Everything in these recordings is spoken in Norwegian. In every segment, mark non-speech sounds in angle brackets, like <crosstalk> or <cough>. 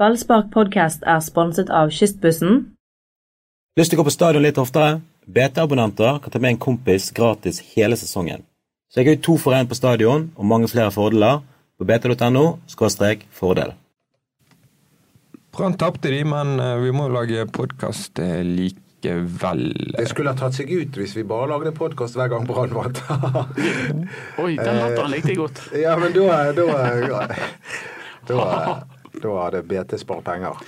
Ballspark podcast er sponset av Kystbussen. Lyst til å gå på stadion litt oftere? BT-abonnenter kan ta med en kompis gratis hele sesongen. Så jeg har jo to for én på stadion, og mange flere fordeler. På bt.no fordel. Brann tapte de, men eh, vi må lage podkast likevel. Det skulle ha tatt seg ut hvis vi bare lagde podkast hver gang Brann vant. <laughs> Oi, den latteren likte jeg godt. ja, men da <laughs> Da, da, da hadde BT spart penger.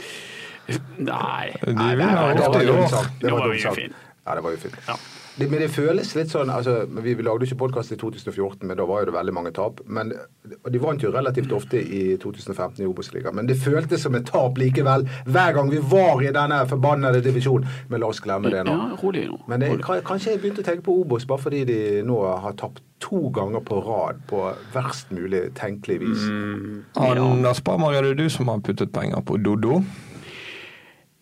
Nei. De nei, vinner nei, det ofte var i dumt år. sagt. Det var dumt sagt. ufint. Ja, det var jo fint. Ja. Det, men det føles litt sånn altså, men Vi vi lagde jo ikke podkast i 2014, men da var jo det veldig mange tap. Men, og de vant jo relativt ofte i 2015 i Obos-ligaen. Men det føltes som et tap likevel, hver gang vi var i denne forbannede divisjonen. Men la oss glemme det nå. Ja, rolig nå. Men det, Rolig. kan- kanskje jeg begynte å tenke på Obos bare fordi de nå har tapt to ganger på rad på verst mulig tenkelig vis. Anders Bammer, er det du som har puttet penger på Dodo?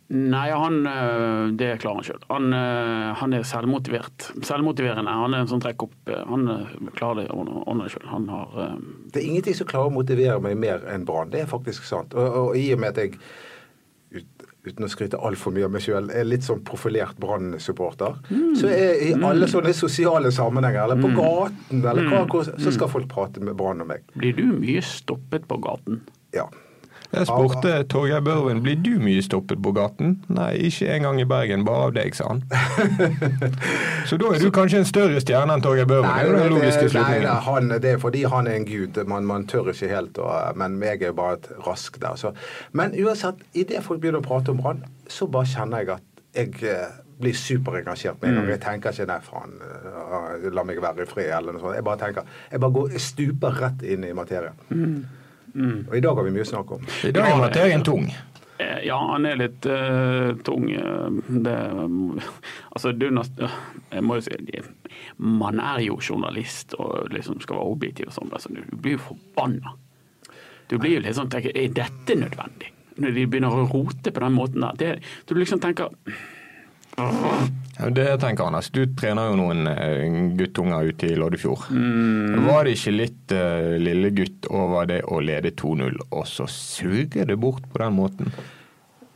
Nei, han øh, Det klarer han sjøl. Han, øh, han er selvmotivert. Selvmotiverende. Han er en sånn trekk opp øh, Han øh, klarer det å ordne- ordne det sjøl. Han har øh, Det er ingenting som klarer å motivere meg mer enn Brann. Det er faktisk sant. Og, og i og med at jeg, ut, uten å skryte altfor mye av meg sjøl, er litt sånn profilert Brann-supporter, så er i alle sånne sosiale sammenhenger, eller på gaten, eller hva, hvor, så skal folk prate med Brann og meg. Blir du mye stoppet på gaten? Ja. Jeg spurte Torgeir Børven blir du mye stoppet på gaten. Nei, ikke engang i Bergen, bare av deg, sa han. Så da er du kanskje en større stjerne enn Torgeir Børven. Nei, det er jo det- den logiske nei, nei, slutningen. han, det er fordi han er en gud. Man, man tør ikke helt, og, men meg er bare et rask der. Så. Men uansett, idet folk begynner å prate om Brann, så bare kjenner jeg at jeg eh, blir superengasjert med en Mm. gang. Jeg tenker ikke 'nei, faen, eh, la meg være i fred', eller noe sånt. Jeg bare tenker, jeg bare går, jeg stuper rett inn i materien. Mm. Og i dag har vi mye å snakke om. I dag er materien tung. Eh, Ja, han er litt eh, tung. eh, det, altså, du, nas- øh, jeg må jo si det- Man er jo journalist og liksom skal være objektiv og sånn. Altså, du blir jo forbanna. Du blir jo litt sånn tenker, Er dette nødvendig? Når de begynner å rote på den måten der. Det, du liksom tenker Ja, Det tenker Anders. Du trener jo noen eh, guttunger ute i Loddefjord. Mm. Var det ikke litt eh, lille gutt over det å lede 2-0, og så suger det bort på den måten?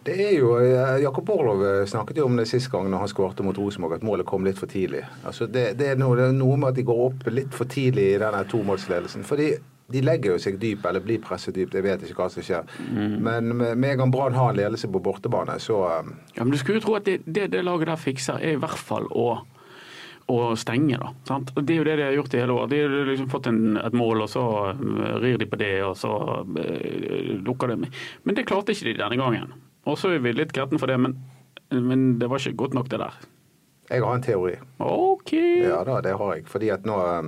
Det er jo, eh, Jakob Orlov eh, snakket jo om det sist gang når han skårte mot Rosenborg, at målet kom litt for tidlig. Altså det, det, er noe, det er noe med at de går opp litt for tidlig i denne tomålsledelsen. fordi de legger jo seg dypt, eller blir presset dypt, jeg vet ikke hva som skjer. Men med med en gang Brann har en ledelse på bortebane, så eh, Ja, men du skulle jo tro at det, det, det laget der fikser, er i hvert fall å, å stenge, da. Sant? Og Det er jo det de har gjort i hele år. De har liksom fått en, et mål, og så eh, rir de på det, og så eh, lukker de. Men det klarte ikke de denne gangen. Og så er vi litt gretten for det, men, men det var ikke godt nok, det der. jeg har en teori. OK. Ja da, det har jeg. Fordi at nå eh,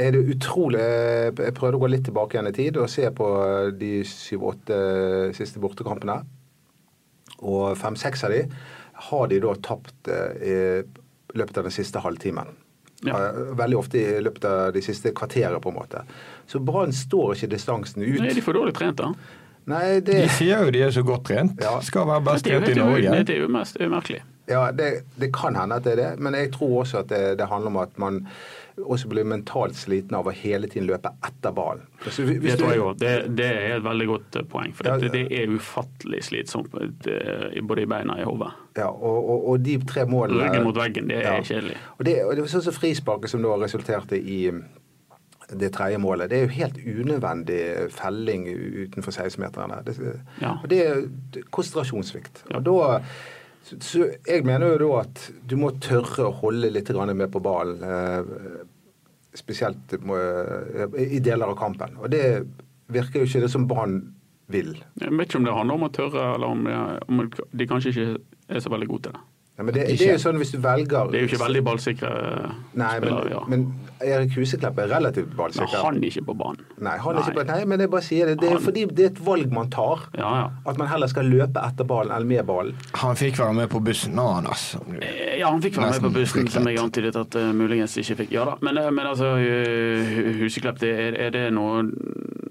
er det utrolig eh, Jeg prøvde å gå litt tilbake igjen i tid og se på eh, de syv-åtte eh, siste bortekampene. Og fem-seks av de har de da tapt eh, i løpet av den siste halvtimen. Ja. Eh, Veldig ofte i løpet av de siste kvarteret, på en måte. Så Brann står ikke distansen ut. Nå er de for dårlig trent, da. Nei, det De sier jo de er så godt trent. Ja. Skal være best Det er jo trent i helt Norge. umulig. Det er jo mest umerkelig. Ja, det, det kan hende at det er det, men jeg tror også at det, det handler om at man også blir mentalt sliten av å hele tiden løpe etter ballen. Altså, hvis- hvis Det du- tror jeg også. Det, det er et veldig godt eh, poeng. For Ja, det, ja. det er ufattelig slitsomt eh, både i beina og i hodet. Ja, og, og, og de tre målene Ryggen mot veggen, det er kjedelig. Og det, og det var sånn som frisparket som da resulterte i mm, det tredje målet. Det er jo helt unødvendig felling utenfor 16-meterne. Det, Ja. og det er konsentrasjonssvikt. Ja. Og da så, så jeg mener jo da at du må tørre å holde litt grann med på ballen. eh, Spesielt må, eh, i deler av kampen. Og det virker jo ikke det som Brann vil. Jeg vet ikke om det handler om å tørre, eller om, om de kanskje ikke er så veldig gode til det. Ja, men det, det er jo sånn hvis du velger De er jo ikke veldig ballsikre Nei, men, spillere. ja. men Erik Huseklepp er relativt Men ballsikker. han er ikke på banen. Nei, han er ikke på, nei, men jeg bare sier det. Det er Han- fordi det er et valg man tar. Ja, ja. At man heller skal løpe etter ballen enn med ballen. Han fikk være med på bussen nå, han, altså. Eh, Ja, han fikk være med Nesten på bussen, fryktet. som jeg antydet at eh, muligens ikke fikk. Ja da, men, eh, men altså, eh, Huseklepp, det, er, er det noe det er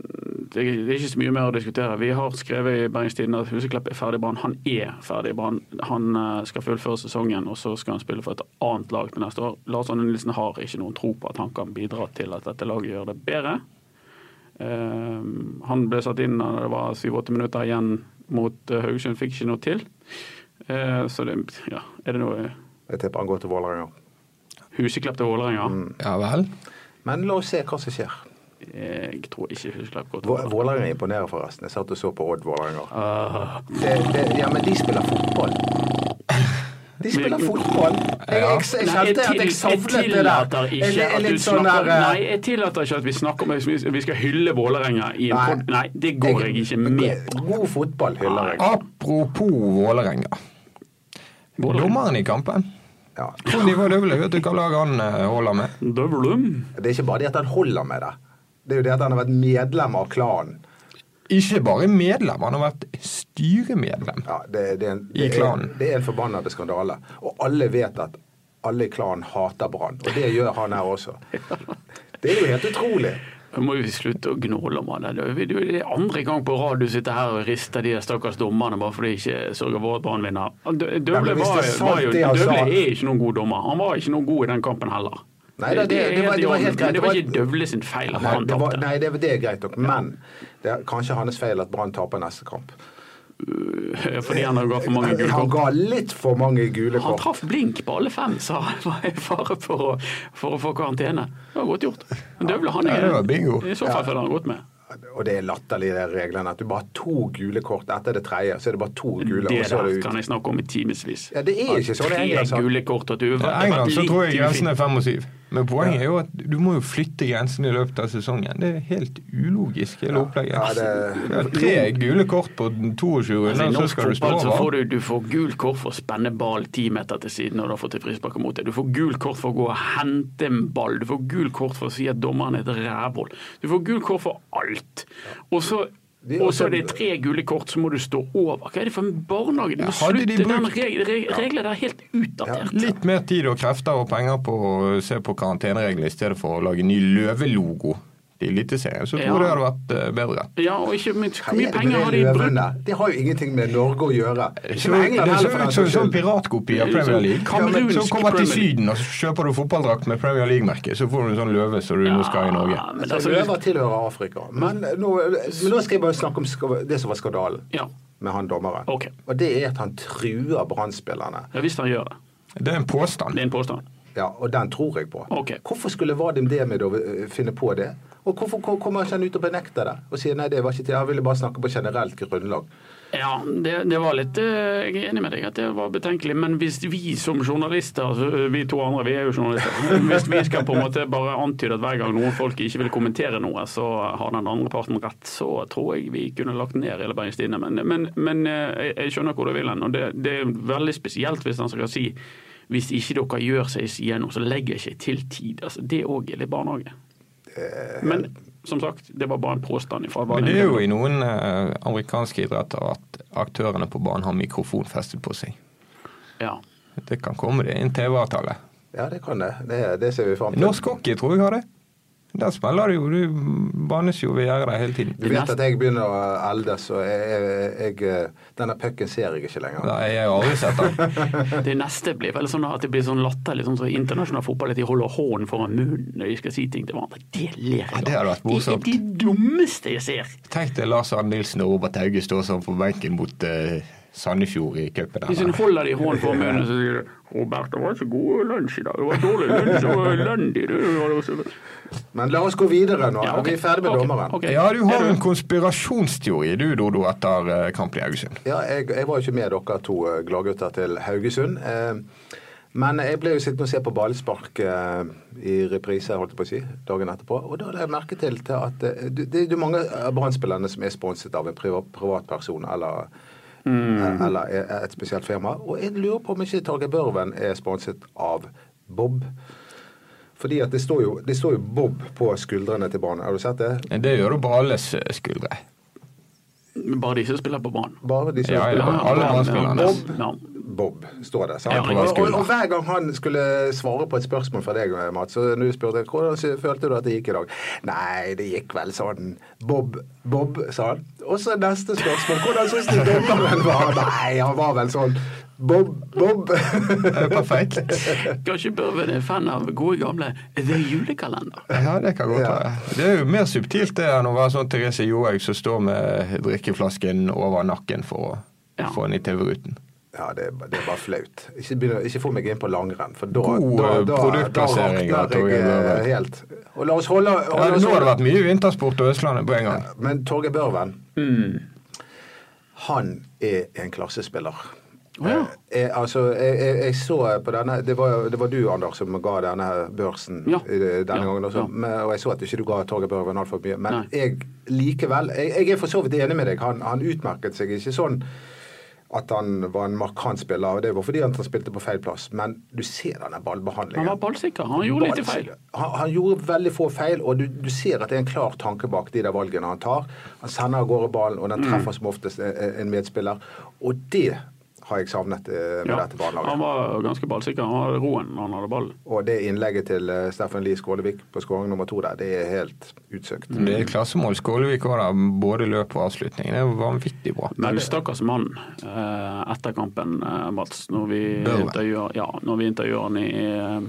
det er ikke så mye mer å diskutere. Vi har skrevet i Bergens Tidende at Huseklepp er ferdig i Brann. Han er ferdig i Brann. Han eh, skal fullføre sesongen, og så skal han spille for et annet lag til neste år. Lars Arne Nilsen har ikke noen tro på at han kan bidra til at dette laget gjør det bedre. Eh, han ble satt inn da det var syv-åtte minutter igjen mot eh, Haugesund, fikk ikke noe til. Eh, så det, ja, er det noe Jeg tipper han går til Vålerenga. Huseklepp til Vålerenga? Mm. Ja vel. Men la oss se hva som skjer. Jeg tror ikke Huseklepp går Vå- til Vålerenga. Vålerenga imponerer, forresten. Jeg satt og så på Odd Vålerenga. Ah, Det, det, ja, men de spiller fotball. De spiller fotball. Jeg, jeg, jeg Nei, kjente at til- jeg savnet det tillater der. ikke Jeg er at du litt sånn snakker- der eh, Nei, jeg tillater ikke at vi snakker om vi- Vi skal hylle Vålerenga i en Nei. pod... Nei, det går jeg ikke med på. God fotball hyller jeg. Apropos Vålerenga. Dommeren i kampen. Ja. Hvor nivå døvelig vet du hva lag han eh, holder med? Døvlum. Det er ikke bare det at han holder med det. Det er jo det at han har vært medlem av klanen. Ikke bare medlem, han har vært styremedlem. Ja, det, det, er en, I det, er, klanen. det er en forbannede skandale. Og alle vet at alle i klanen hater Brann. Og det gjør han her også. Det er jo helt utrolig. Nå må vi slutte å gnåle om han. der. Det er jo det andre gang på rad du sitter her og rister de der stakkars dommerne bare fordi de ikke sørger for at Brann vinner. Dø- Døvle, men hvis var, det er sant var jo, det han Døvle sa- altså- er ikke noen god dommer. Han var ikke noen god i den kampen heller. Nei, da, det- er det helt var- det var i orden, helt greit. men det var Det ikke var- Døvle sin feil at Nei, han det, var, tapte. nei det, er- det er greit nok. Men det er kanskje hans feil at Brann taper neste kamp. Eh, Fordi han ga for mange gule Han kort. ga litt for mange gule Han kort. traff blink på alle fem, sa han. <laughs> var i fare for å, for å få karantene. Det var godt gjort. Men Døvle, han Ja, er det var bingo. I så fall følger han godt med. Og det er latterlig, de reglene. At du bare har to gule kort etter det tredje. Så er det bare to gule, Det og så er der det kan ut. jeg snakke om i timevis. Ja, det er ikke sånn i England, Tre sant? gule kort at I du England så tror jeg grensen er fem og syv. Men poenget er jo at du må jo flytte grensen i løpet av sesongen. Det er helt ulogisk, hele opplegget. Ja, det- Ja, tre gule kort på 22 Altså, I runder, så norsk skal du stå fotball så får over. du, du får gul kort for å spenne ball ti meter til siden når du har fått et frispark mot deg. Du får gul kort for å gå og hente en ball. Du får gul kort for å si at dommeren er et rævhold. Du får gul kort for alt. Og så Det er og også- så er det tre gule kort, så må du stå over. Hva er det for en barnehage? Du må hadde de slutte den brukt- reg- reg- regelen der er helt utdatert. Litt mer tid og krefter og penger på å se på karantenereglene i stedet for å lage ny løvelogo i Eliteserien, så tror jeg det hadde vært eh, bedre. Ja, og ikke minst, Hva hvor mye er det penger med har de brukt? løvene? Det har jo ingenting med Norge å gjøre. Det Ikke ser med ut England heller, for den som en saks sånn skyld. piratkopi av Premier League. Kamerunsk Så kommer til Premier League. Syden og så kjøper du fotballdrakt med Premier League-merke, så får du en sånn løve som du nå skal i Norge. Ja, men Altså, altså, Løver tilhører Afrika. Men nå, men nå skal jeg bare snakke om sk- det som var skandalen Ja. med han dommeren. Ok. Og det er at han truer Brann-spillerne. ja, hvis han gjør det. Det er en påstand. Det er en påstand. Ja, og den tror jeg på. Ok. Hvorfor skulle Vadim Demidov eh, finne på det? Og hvorfor ko- kommer ikke han ut og benekter det? Og sier nei, det var ikke til, jeg ville bare snakke på generelt grunnlag. Ja, det, det var litt eh, Jeg er enig med deg at det var betenkelig, men hvis vi som journalister, altså, vi to andre, vi er jo journalister, hvis vi skal på en måte bare antyde at hver gang noen folk ikke vil kommentere noe, så har den andre parten rett, så tror jeg vi kunne lagt ned hele Bergens Tidende. Men, men, men eh, jeg, jeg skjønner hvor du vil hen, og det, det er veldig spesielt hvis han skal si hvis ikke dere gjør seg siden noe, så legger jeg ikke til tid. Altså, det òg er litt barnehage. Men som sagt, det var bare en påstand ifra Men det er jo i noen eh, amerikanske idretter at aktørene på banen har mikrofon festet på seg. Ja. Det kan komme det i en TV-avtale. Ja, det kan det. Det, det ser vi fram til. Norsk hockey tror jeg har det. Der smeller det jo. Du banes jo ved gjerdet hele tiden. Du vet at jeg begynner å eldes, og jeg, jeg, jeg, denne pucken ser jeg ikke lenger. Nei, jeg har aldri sett den. Det neste blir vel sånn at det blir sånn latterlig, sånn som i internasjonal fotball, at de holder hånden foran munnen når de skal si ting til hverandre. Det ler jeg Ja, av. det hadde vært morsomt. Det er de dummeste jeg ser. Tenk deg Lars Arne Nilsen og Robert Hauge stå sånn på benken mot eh, Sandefjord i cupen. Hvis hun der. holder de hånden foran munnen, så sier de 'Robert, det var ikke god lunsj i dag. Det var dårlig lunsj, det var elendig.' Det var også... Men la oss gå videre nå. Ja, ok. Vi er ferdig med Ok, dommeren. ok. Ja, du har Er en konspirasjonsteori du, Dodo, etter eh, kampen i Haugesund. Ja, jeg, jeg var jo ikke med dere to eh, gladgutter til Haugesund. Eh, men jeg ble jo sittende og se på ballspark eh, i reprise, holdt jeg på å si, dagen etterpå. Og da la jeg merke til, til at eh, du- det er jo mange av Brann-spillerne som er sponset av en priva- privatperson eller, Mm. eh, eller e- et spesielt firma. Og jeg lurer på om ikke Torgeir Børven er sponset av Bob. Fordi at det står jo, det står jo Bob på skuldrene til Brann. Har du sett det? Det gjør du på alles eh, skuldre. Bare de som spiller på banen. Bare de som Ja, ja, spiller. alle Ja, Brann-spillerne. ja. Bob, står det. sant? Ja, og, jeg og, husker det. og hver gang han skulle svare på et spørsmål fra deg, Mats, så nå spurte jeg hvordan sy- følte du at det gikk i dag. Nei, det gikk vel sånn Bob, Bob, sa han. Og så neste spørsmål. Hvordan syns du dommeren var? Nei, han var vel sånn Bob, Bob. <laughs> Perfekt. <laughs> Kanskje Børven er fan av gode gamle The Julekalender? Ja, det kan godt Ja. være. Det er jo mer subtilt det enn å være sånn Therese Johaug som står med drikkeflasken over nakken for å Ja. få den i TV-ruten. Ja, det, er ba- det er bare flaut. Ikke, begynner, ikke få meg inn på langrenn, for da, God, da, eh, da, da produktplassering av rakner jeg Torgeir Børven. eh, helt. Og la oss holde, Ja, holde nå oss har det vært mye vintersport og Østlandet på en gang. Men Torgeir Børven, Mm. han er en klassespiller. ja. Eh, jeg, altså, jeg, jeg, jeg så på denne Det var, det var du, Anders, som ga denne børsen Ja. i det- denne Ja, gangen. Også. ja. Men, og jeg så at ikke du ga Torgeir Børven altfor mye. Men Nei. jeg likevel jeg, jeg er for så vidt enig med deg. Han, han utmerket seg ikke sånn at han var en markant spiller. og Det var fordi han spilte på feil plass. Men du ser denne ballbehandlingen. Han var ballsikker. Han gjorde lite feil. Han, han gjorde veldig få feil, og du, du ser at det er en klar tanke bak de der valgene han tar. Han sender av gårde ballen, og den Mm. treffer som oftest en, en medspiller. Og det har jeg savnet eh, med Ja. dette Han barnelaget. var ganske ballsikker. Han hadde roen når han hadde ballen. Og det innlegget til eh, Steffen Lie Skålevik på skåring nummer to der, det er helt utsøkt. Mm. Det er klassemål Skålevik òg, da. Både løp og avslutning. Det er vanvittig bra. Men stakkars mann eh, etter kampen, eh, Mats, når vi Børven. intervjuer, ja, når vi intervjuer han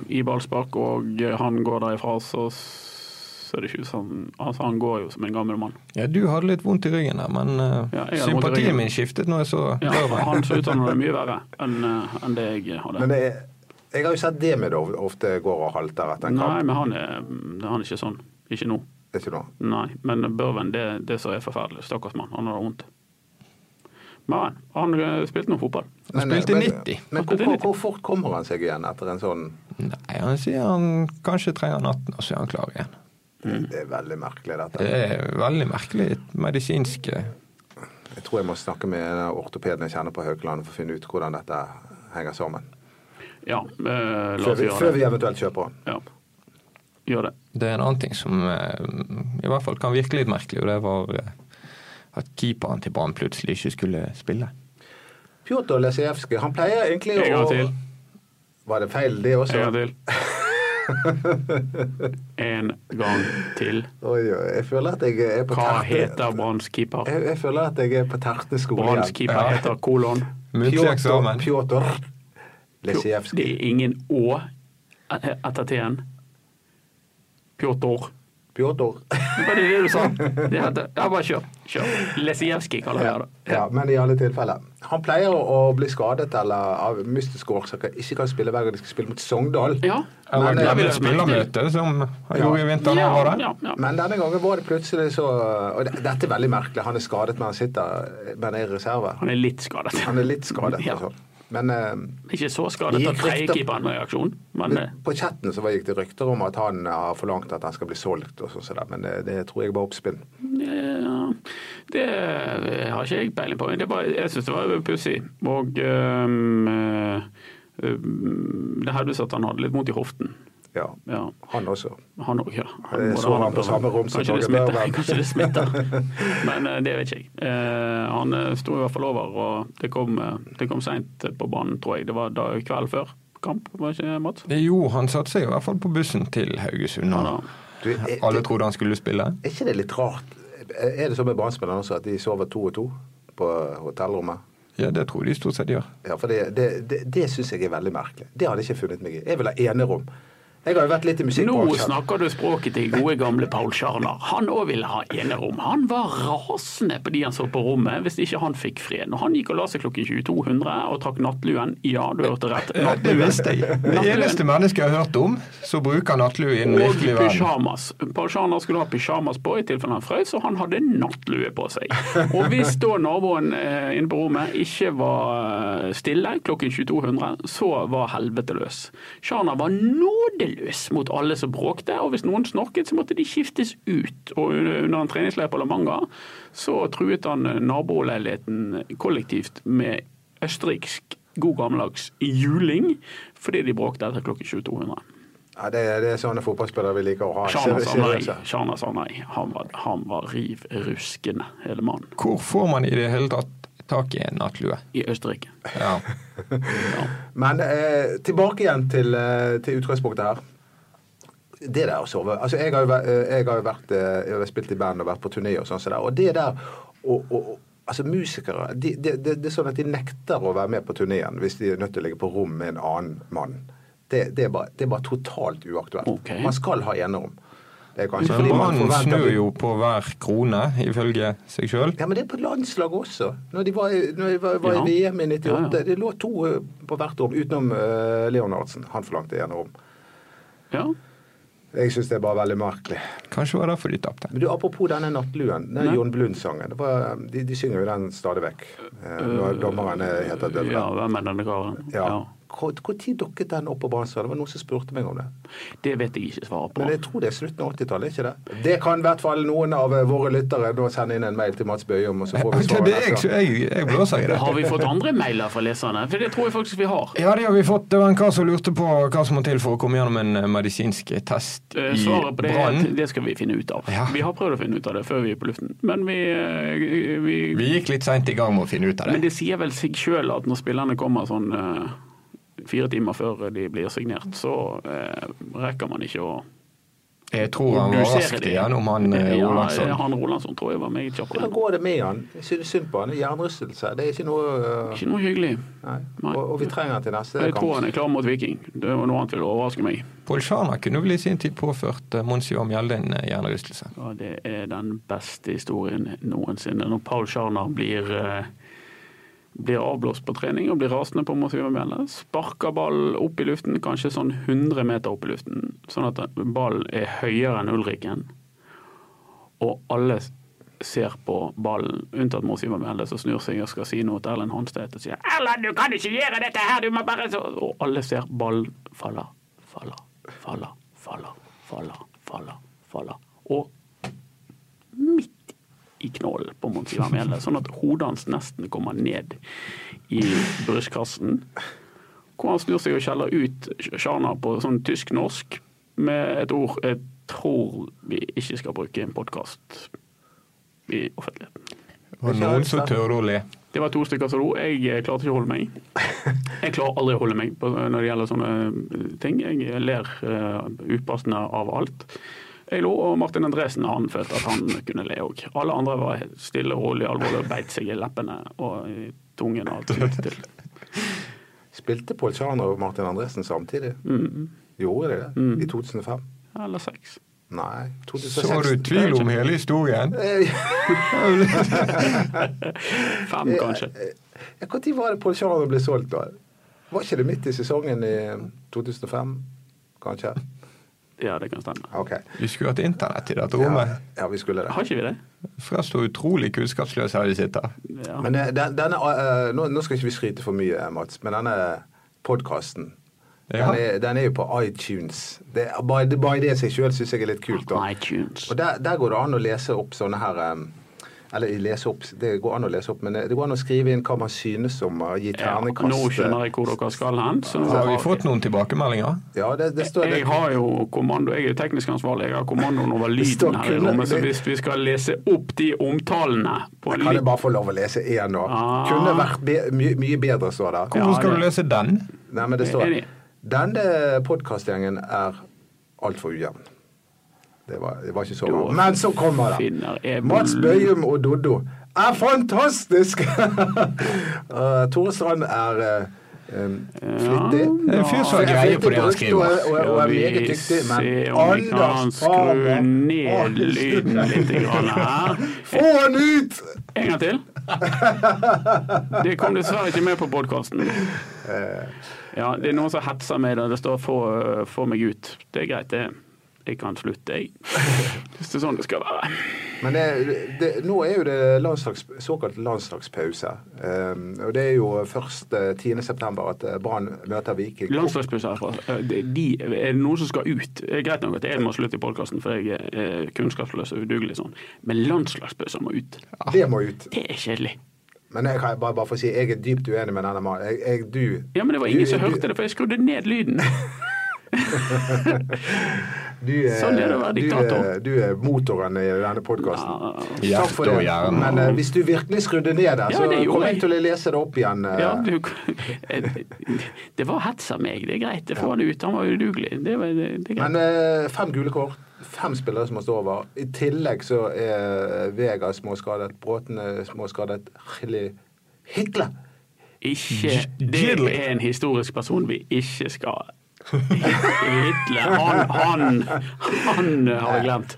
i, i ballspark, og han går derifra, så ser det ikke ut som altså, Han går jo som en gammel mann. Ja, du hadde litt vondt i ryggen der, men eh, Ja, jeg hadde vondt i ryggen. sympatien min skiftet når jeg så Ja, Børven. han så ut som han hadde mye verre enn eh, enn det jeg hadde. Men det er, jeg har jo sett det med det ofte går og halter etter en Nei, kamp. men han er, han er ikke sånn. Ikke nå. Ikke noe. Nei, men Børven, det, det som er forferdelig. Stakkars mann, han hadde vondt. Men han eh, spilte nå fotball. Men, eh, spilte men- 90. Men Han hvor, spilte hvor, 90. hvor fort kommer han seg igjen etter en sånn Nei, han sier han kanskje trenger natten, og så er han klar igjen. Mm. Det er veldig merkelig, dette. Det er veldig merkelig medisinsk eh, Jeg tror jeg må snakke med en av ortopeden jeg kjenner på Haukeland for å finne ut hvordan dette henger sammen. Ja, eh, la Før oss vi, før gjøre vi det. eventuelt kjøper den. Ja. Gjør det. Det er en annen ting som eh, i hvert fall kan virke litt merkelig, og det var eh, at keeperen til Brann plutselig ikke skulle spille. Pjotr Lesijevskij, han pleier egentlig En å gang til. Var det feil, det også? En gang til. En gang til. Oi, oi, jeg føler at jeg er på Hva terte- heter Branns keeper? Jeg, jeg føler at jeg er på terteskolen Branns keeper heter kolon. Muntlig eksamen. Pjotr Det Lesijevskij. er ingen å etter t-en. Pjotr. Pjotr. Var det det du sa? Det heter, ja, bare kjør. kjør. Lesijevskij kaller jeg det. <laughs> Ja, men i alle tilfeller. Han pleier å bli skadet eller av mystiske årsaker ikke kan spille hver gang de skal spille mot Sogndal. Ja. Eller Men, eh, glemme det- spillermøte, som han Ja. gjorde i vinter. nå, var det? ja, ja. Men denne gangen var det plutselig så Og det- dette er veldig merkelig. Han er skadet, men han sitter men er i reserve. Han er litt skadet. Han er litt skadet, Ja. altså. Men eh, Ikke så skadet at Gikk riktig- tredjekeeperen var i aksjon, men eh, på chatten så var- gikk det rykter om at han har forlangt at han skal bli solgt, og sånn som det, men det, det tror jeg var oppspinn. Ja, det har ikke jeg peiling på. Det var, jeg syns det var pussig. Og øhm, øh, øhm, ehm, det hevdes at han hadde litt vondt i hoften. Ja. Ja, Han også. han òg, ja. Jeg så han på samme rom som Kanskje det Torgeir smitter. Børven. Kanskje <laughs> det smitter. Men eh, det vet ikke jeg. Eh, Han eh, sto i hvert fall over, og det kom, eh, det kom seint på banen, tror jeg. Det var da kvelden før kamp, var det ikke Mats? Jo, han satte seg i hvert fall på bussen til Haugesund. Ja, da. og Du, er, Alle er trodde han skulle spille. ikke det litt rart? Er det sånn med Brann-spillerne også, at de sover to og to på hotellrommet? Ja, det tror de stort sett gjør. Ja, for det, det, det, det syns jeg er veldig merkelig. Det hadde jeg ikke funnet meg i. Jeg vil ha enerom. Jeg har jo vært litt i musikk Nå snakker du språket til gode gamle Paul Scharner. Han òg ville ha enerom. Han var rasende på de han så på rommet, hvis ikke han fikk fred. Når han gikk og la seg klokken 22.00 og trakk nattluen, ja, du hørte rett, Ja, Eh, det nattluen visste jeg. Det eneste mennesket jeg har hørt om som bruker nattlue i den og virkelige verden. pysjamas. Paul Scharner skulle ha pysjamas på i tilfelle han frøs, og han hadde nattlue på seg. Og hvis da naboen eh, inne på rommet ikke var eh, stille klokken 2200, så var helvete løs. Scharner var nådeløs mot alle som bråkte, og hvis noen snorket, så måtte de skiftes ut. Og under under en treningsleir på La Manga så truet han eh, naboleiligheten kollektivt med østerriksk god gammeldags juling fordi de bråkte etter klokken 2200. Ja, det, er- det er sånne fotballspillere vi liker å ha. Shana sa Ikke- ikke- nei. Shana sa nei. Han var, han var riv ruskende, hele mannen, Hvor får man i det hele tatt tak i en nattlue? i Østerrike. Ja. Men eh, tilbake igjen til, eh, til utgangspunktet her. Det eh, der å sove Altså, jeg har jo vært, jeg har jo vært eh, jeg har spilt i band og vært på turné og sånn, så der, og det der og, og, og Altså Musikere de, de, de, det er sånn at de nekter å være med på turneen hvis de er nødt til å ligge på rom med en annen mann. Det, det, er, bare, det er bare totalt uaktuelt. Ok. Man skal ha enerom. Det er kanskje fordi man Mannen forventer snur jo på hver krone, ifølge seg sjøl. Ja, men det er på landslaget også. Når de var, i- når de var, var Ja. i VM i 98, Ja, ja. det lå to eh, på hvert rom, utenom eh, Leonardsen. Han forlangte gjerne rom. Ja. Jeg syns det er bare veldig merkelig. Kanskje var det derfor de tapte. Men du, Apropos denne nattluen, den Nei. Jon Blund-sangen. det var- De, de synger jo den stadig vekk. eh, Når dommeren eh, heter Dødland. Ja, hvem er denne karen? Ja. Hvor hvor tid dukket den opp på Brannsdal? Det var noen som spurte meg om det. Det vet jeg ikke svaret på. Men jeg tror det er slutten av 80-tallet, ikke det? Det kan i hvert fall noen av eh, våre lyttere da sende inn en mail til Mats Bøyum, og så får <laughs> vi Det, svaret det, jeg, neste gang. jeg, jeg blåser i det. <laughs> Har vi fått andre mailer fra leserne? For det tror jeg faktisk vi har. Ja, det har vi fått. Det var en kar som lurte på hva som må til for å komme gjennom en eh, medisinsk test Eh, i Svaret på det, er brann. at det skal vi finne ut av. Ja. Vi har prøvd å finne ut av det før vi gikk på luften, men vi, eh, vi, Vi gikk litt seint i gang med å finne ut av Men det. det sier vel seg sjøl at når spillerne kommer sånn eh, fire timer før de blir signert, så eh, rekker man ikke å Jeg tror han var produsere raskt de. igjennom, han eh, <laughs> Ja, Olansson. Han Rolandsson tror jeg var meget kjapp. Hvordan går det med han? Jeg synes synd på han. Det er Jernrystelse. Det er ikke noe eh, Ikke noe hyggelig. Nei. Nei. Og, og vi trenger han til neste Jeg tror kamp. han er klar mot Viking. Det var noe annet vil overraske meg. Polsjana kunne vel i sin tid påført eh, Monsieur Mjelde en eh, hjernerystelse. Ja, det er den beste historien noensinne. Når Paul Scharner blir, eh, blir avblåst på trening og blir rasende på Masiva Mjelde, sparker ballen opp i luften, kanskje sånn 100 meter opp i luften, sånn at ballen er høyere enn Ulriken, og alle s- ser på ballen, unntatt Masiva Mjelde, som snur seg og skal si noe til Erlend Hanstedt og sier 'Erlend, du kan ikke gjøre dette her, du må bare så-" Og alle ser ballen faller, faller, faller, faller, faller, faller, faller. Og midt i knollen på Montiva Mele, sånn at hodet hans nesten kommer ned i brystkassen. Hvor han snur seg og skjeller ut Shana på sånn tysk-norsk med et ord jeg tror vi ikke skal bruke i en podkast i offentligheten. Og Ikke noen helt som sant. tør å le. Det var to stykker som lo. Jeg eh, klarte ikke å holde <laughs> meg. Jeg klarer aldri å holde meg på, når det gjelder sånne eh, ting. Jeg ler eh, upassende av alt. Jeg lo, og Martin Andresen han følte at han kunne le òg. Alle andre var helt stille og rolig alvorlig og beit seg i leppene og i tungen og alt mulig til. Spilte Pål Tjaner og Martin Andresen samtidig? Mm. Gjorde de det? I 2005? Eller sex. Nei, 2006. Så du <laughs> tvil om hele <laughs> historien? Fem, kanskje. Når var det Pål Tjaner ble solgt, da? Var ikke det midt i sesongen i eh, 2005, kanskje? Ja, det kan stemme. OK. Vi skulle hatt internett i dette Ja, rommet. ja vi skulle det. Har ikke vi det? For så utrolig kunnskapsløse her vi sitter. Ja. Men eh, den, denne, eh, nå, nå skal ikke vi skryte for mye, eh, Mats, men denne podkasten Ja. den, er- den er jo på iTunes. Det, er- bare, det- bare det i seg sjøl syns jeg er litt kult. Da. iTunes. Og der, der går det an å lese opp sånne her em, eller lese opp, Det går an å lese opp, men eh, det går an å skrive inn hva man synes om og gi Ja, ternekast. eh, nå skjønner jeg hvor dere skal hen. Så nå Så har vi fått noen tilbakemeldinger. Ja, det, det står det. Jeg har jo kommando, jeg er jo teknisk ansvarlig, jeg har kommandoen over lyden står her i kun- rommet, så det- hvis vi skal lese opp de omtalene på en Kan jeg litt bare få lov å lese én nå? Ah. Kunne vært be my mye bedre, står det. Hvorfor skal det- du lese den? Nei, men det står Enig. Denne podkastgjengen er altfor ujevn. Det var, det var ikke så bra. Da Men så kommer finner det. jeg- Mats Bøyum og Doddo er fantastisk! <laughs> Eh, Tore Strand er eh, em, flittig. Det er en fyr som har greie på det han skriver. Og, og, og er vi meget dyktig, men se om vi kan Anders skru Farmer ned lyden litt grann her. Få han ut! En gang til. Det kom dessverre ikke med på podkasten. Ja, det er noen som hetser meg da det står 'få, få meg ut'. Det er greit, det. Jeg kan slutte, jeg. Hvis det er sånn det skal være. Men det, det, nå er jo det landslags, såkalt landslagspause. Em, og det er jo først eh, 10. september at eh, Brann møter Viking. Landslagspauser herfra. Eh, De, de, er det noen som skal ut? Eh, Greit nok at jeg må slutte i podkasten, for jeg er kunnskapsløs og udugelig sånn, men landslagspauser må ut. Det må ut. Det er kjedelig. Men jeg kan bare, bare få si, jeg er dypt uenig med denne mannen. Jeg, jeg, du, Ja, men det var du- ingen som du- hørte det, for jeg skrudde ned lyden. Du er, Sånn er det å være diktator. Du er, du er motoren i denne podkasten. Ja. Takk for Hjerte og det. hjerne. Men eh, hvis du virkelig skrudde ned der, Ja, så det gjorde kommer jeg jeg. til å lese det opp igjen. eh. Ja, du, <laughs> det var hets av meg, det er greit. Det får han ut. Han var udugelig. Det, var- det, det er greit. Men eh, fem gule kort, fem spillere som har stått over. I tillegg så er eh, Vega småskadet, Bråten er småskadet, Hilly Hitler Ikke Det Gidley. er en historisk person vi ikke skal <laughs> Hitler Han, han, han har vi glemt.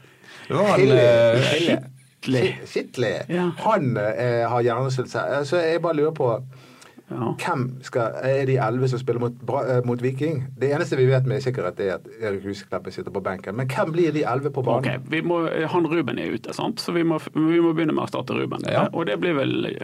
Det var en, Hitler. eh, Hitler. Skittlig. Ja. Han eh, har hjernesvulst. Så altså, jeg bare lurer på Ja. Hvem skal, er de elleve som spiller mot, Bra- eh, mot Viking? Det eneste vi vet med sikkerhet, er at Erik Husekleppe sitter på benken. Men hvem blir de elleve på Ok, banen? vi må, Han Ruben er ute, sant? så vi må, vi må begynne med å starte Ruben. Ja. Og det blir vel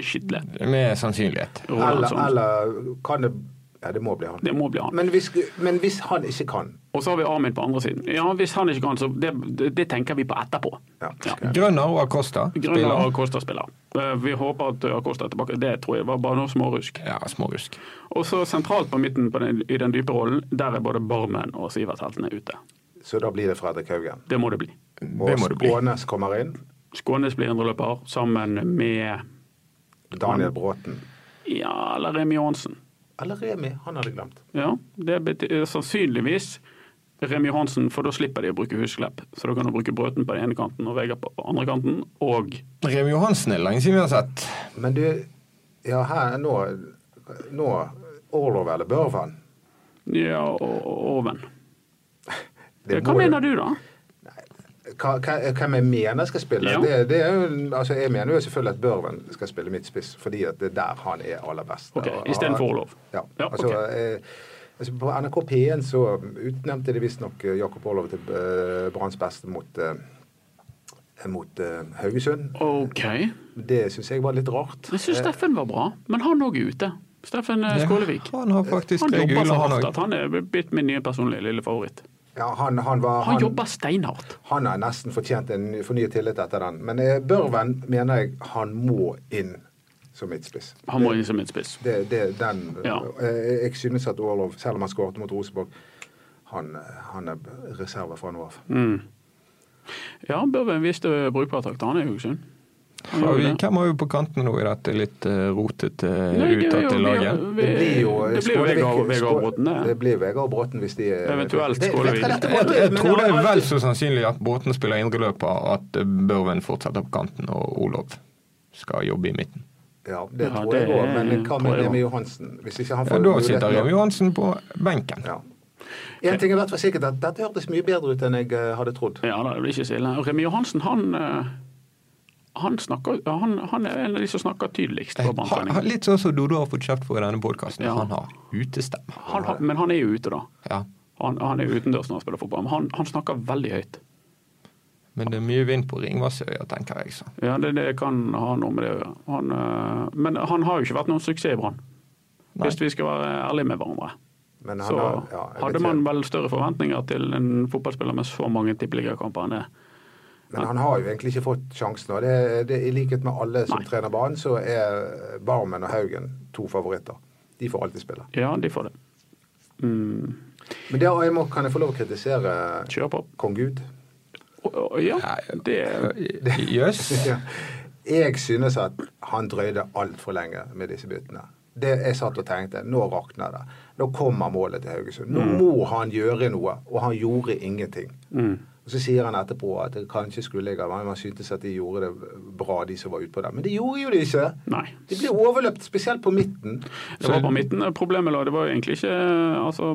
Skitle. eh, med sannsynlighet. Rolandsson. Eller, eller kan det Ja, det må bli han. Det må bli han. Men, hvis, men hvis han ikke kan Og så har vi Armin på andre siden. Ja, Hvis han ikke kan, så det, det, det tenker vi på etterpå. ja, ok. Grønner og Acosta Grønner spiller. og Kosta spiller. Eh, Vi håper at Kosta er tilbake. Det tror jeg var bare noe smårusk. Ja, smårusk. Og så sentralt på midten på den, i den dype rollen, der er både Barmen og Sivert Heltene ute. Så da blir det Fredrik Haugen. Det må det bli. Og Det må det bli. Skånes kommer inn. Skånes blir indreløper sammen med Daniel Bråten. ja, eller Remi Johansen. Eller Remi. Han hadde glemt. Ja, det betyr sannsynligvis Remi Johansen, for da slipper de å bruke husklepp. Så da kan du bruke Brøten på den ene kanten og Vegard på den andre kanten. Og Remi Johansen er det lenge siden vi har sett. Men du Ja, her nå Nå Orlov eller Børvan? ja, og, og Oven. Det Hva må jo- mener du, da? hva, hva- hvem jeg mener skal spille. Ja. Det, det er jo, altså jeg mener jo selvfølgelig at Børven skal spille midtspiss, fordi at det er der han er aller best. Ok, Og- istedenfor Orlov. Ja. Ja, altså, ok. eh, altså på NRK P1 så utnevnte de visstnok eh, Jakob Orlov til eh, Branns beste mot eh, mot eh, Haugesund. OK. Det syns jeg var litt rart. Jeg syns Steffen var bra, men han òg er ute. Steffen eh, Skålevik. Han har faktisk Han jeg jobber så googler hardt han at han er blitt min nye personlige lille favoritt. Eh, Ja, han, han, var, Han jobber steinhardt. han har nesten fortjent en ny- fornyet tillit etter den. Men eh, Børven mener jeg han må inn som midtspiss. Han må inn som en spiss. det, det, den, Ja. jeg, jeg synes at Orlov, selv om han skåret mot Rosenborg, han, han er reserve fra nå av. Mm. Ja, han bør være en viss eh, brukbartakt. Han er jo sunn. Han Har gjør vi, jo det. hvem har vi på kantene nå i dette litt eh, rotete, Nei, det er jo- utdatte vi har- laget? vi- Det blir jo det blir jo Skålevik- Vegard Vegard Skå- Bråten, det. Det blir Vegard Bråten hvis de eh, Det- Eventuelt vet Skålevik. hva dette Jeg, var? jeg Men tror det han- er vel så sannsynlig at Båten spiller indreløper, at Børven fortsetter på kanten og Olov skal jobbe i midten. Ja, det Ja, tror jeg det òg, men hva tror med jeg også. Remi Johansen? Hvis ikke han Ja, får da muligheten- sitter Remi Johansen på benken. Ja. En ting er i hvert fall sikkert, at dette hørtes mye bedre ut enn jeg eh, hadde trodd. Ja, da, det blir ikke så ille. Remi Johansen, han eh, han, snakker, han, han er en av de som snakker tydeligst Eh, på Ha, ha, branntrening. litt sånn som Dodo har fått kjeft for i denne podkasten. Ja. Han har utestemme. Han, har- men han er jo ute, da. Ja. Han, han er jo utendørs når han spiller fotball. Men han, han snakker veldig høyt. Men det er mye vind på Ringvassøya, tenker jeg. Så. Ja, det, det kan ha noe med det å gjøre. Han, eh, men han har jo ikke vært noen suksess i Brann, Nei. hvis vi skal være ærlige med hverandre. Men han Så har- ja, jeg vet hadde ikke. man vel større forventninger til en fotballspiller med så mange tippeligakamper enn det. Men han har jo egentlig ikke fått sjansen. Og det, det, I likhet med alle som Nei. trener banen, så er eh, Barmen og Haugen to favoritter. De får alltid spille. Ja, de får det. Mm, Men der jeg må, kan jeg få lov å kritisere kjør på. kong Gud? <laughs> Å, å, Ja, det Jøss. Ja. Jeg synes at han drøyde altfor lenge med disse byttene. Det jeg satt og tenkte, nå rakner det. Nå kommer målet til Haugesund. Nå Mm. må han gjøre noe, og han gjorde ingenting. Og Så sier han etterpå at det kanskje skulle jeg ha men Man syntes at de gjorde det bra, de som var ute på det. Men det gjorde jo de ikke. Nei. De ble overløpt, spesielt på midten. Det var på midten. Problemet lå, det var jo egentlig ikke altså,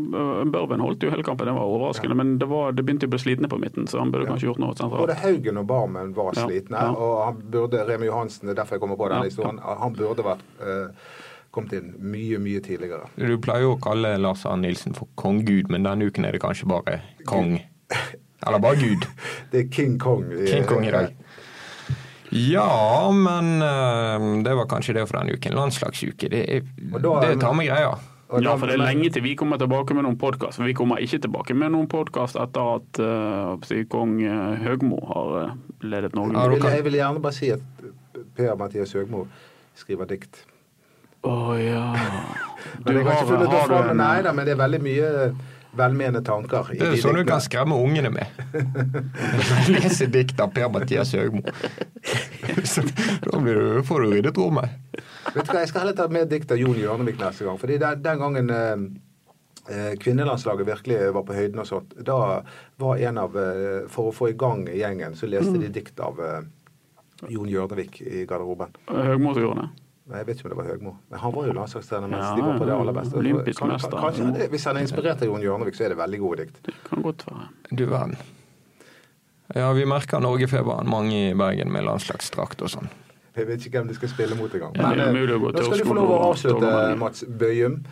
Børven holdt jo hele kampen, det var overraskende. Men det, var, det begynte å bli slitne på midten, så han burde kanskje gjort noe Både sentralt. Haugen og Barmen var Ja, slitne, ja. og han burde, Remi Johansen, det er derfor jeg kommer på denne Ja, historien, han burde vært eh, kommet inn mye, mye tidligere. Du pleier jo å kalle Lars Arne Nilsen for konggud, men denne uken er det kanskje bare kong. Eller bare gud. Det er King Kong. i- King Kong i dag. Ja, men eh, det var kanskje det for denne uken. Landslagsuke, det er, Og da- det er tamme greier. Og da- Ja, for det er lenge til vi kommer tilbake med noen podkast. Vi kommer ikke tilbake med noen podkast etter at eh, hva skal jeg si, kong eh, Høgmo har eh, ledet Norge. Ja, Jeg da vil, kan- jeg vil gjerne bare si at Per-Mathias Høgmo skriver dikt. Å ja. <laughs> Men jeg har ikke funnet det du fram, en- nei da, men det er veldig mye velmenende tanker i Det er de jo sånn du diktene. kan skremme ungene med. <laughs> Lese dikt av Per-Mathias Høgmo. <laughs> Så Da blir du, får du ryddet rommet. Vet du hva, Jeg skal heller ta med dikt av Jon Hjørnevik neste gang. fordi den, den gangen eh, eh, kvinnelandslaget virkelig var på høyden og sånt, da var en av eh, For å få i gang gjengen, så leste Mm. de dikt av eh, Jon Hjørnevik i garderoben. eh, Høgmo som gjorde det. Nei, Jeg vet ikke om det var Høgmo, men han var jo landslagstrener mens Ja, de var på det ja, aller beste. olympisk Kan- mester. kan- kanskje det- Hvis han er inspirert av Jon Hjørnevik, så er det veldig gode dikt. Det kan godt være. Du verden. Ja, vi merker Norgefeberen, mange i Bergen med landslagsdrakt og sånn. Jeg vet ikke hvem de skal spille mot engang. Ja, det er Men, eh, umulig å gå nå til skal du få Oslo lov å og avslutte, Ståle Vangen. Mats Bøyum.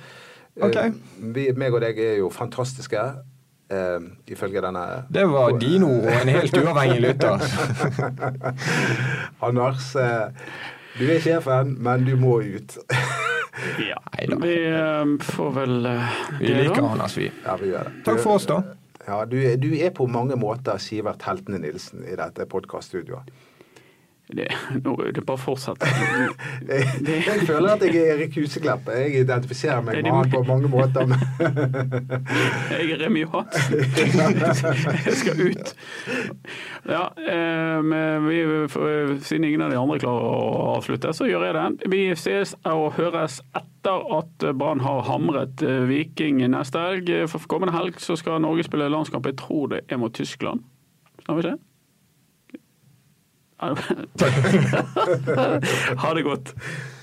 Eh, Ok. Vi, meg og deg er jo fantastiske, eh, ifølge denne Det var dine ord og en helt uavhengig <laughs> lytter. <laughs> Anders, eh, du er sjefen, men du må ut. <laughs> Ja. Neida. Vi eh, får vel eh, Vi det, liker da. Anders, vi. ja, vi gjør det. Takk for oss, da. Ja, du, er- du er på mange måter Sivert Heltene Nilsen i dette podkaststudioet. Det, nå er det bare å fortsette. Jeg, jeg føler at jeg er Erik Huseklepp. Jeg identifiserer meg Er med det han mulig? på mange måter. Men Jeg er Remi Johansen. Jeg skal ut. Ja, eh, men vi, for- siden ingen av de andre klarer å avslutte, så gjør jeg det. Vi ses og høres etter at Brann har hamret eh, Viking neste helg. For kommende helg så skal Norge spille landskamp. Jeg tror det er mot Tyskland. Stemmer ikke <laughs> det? Ja, det? Ha det godt.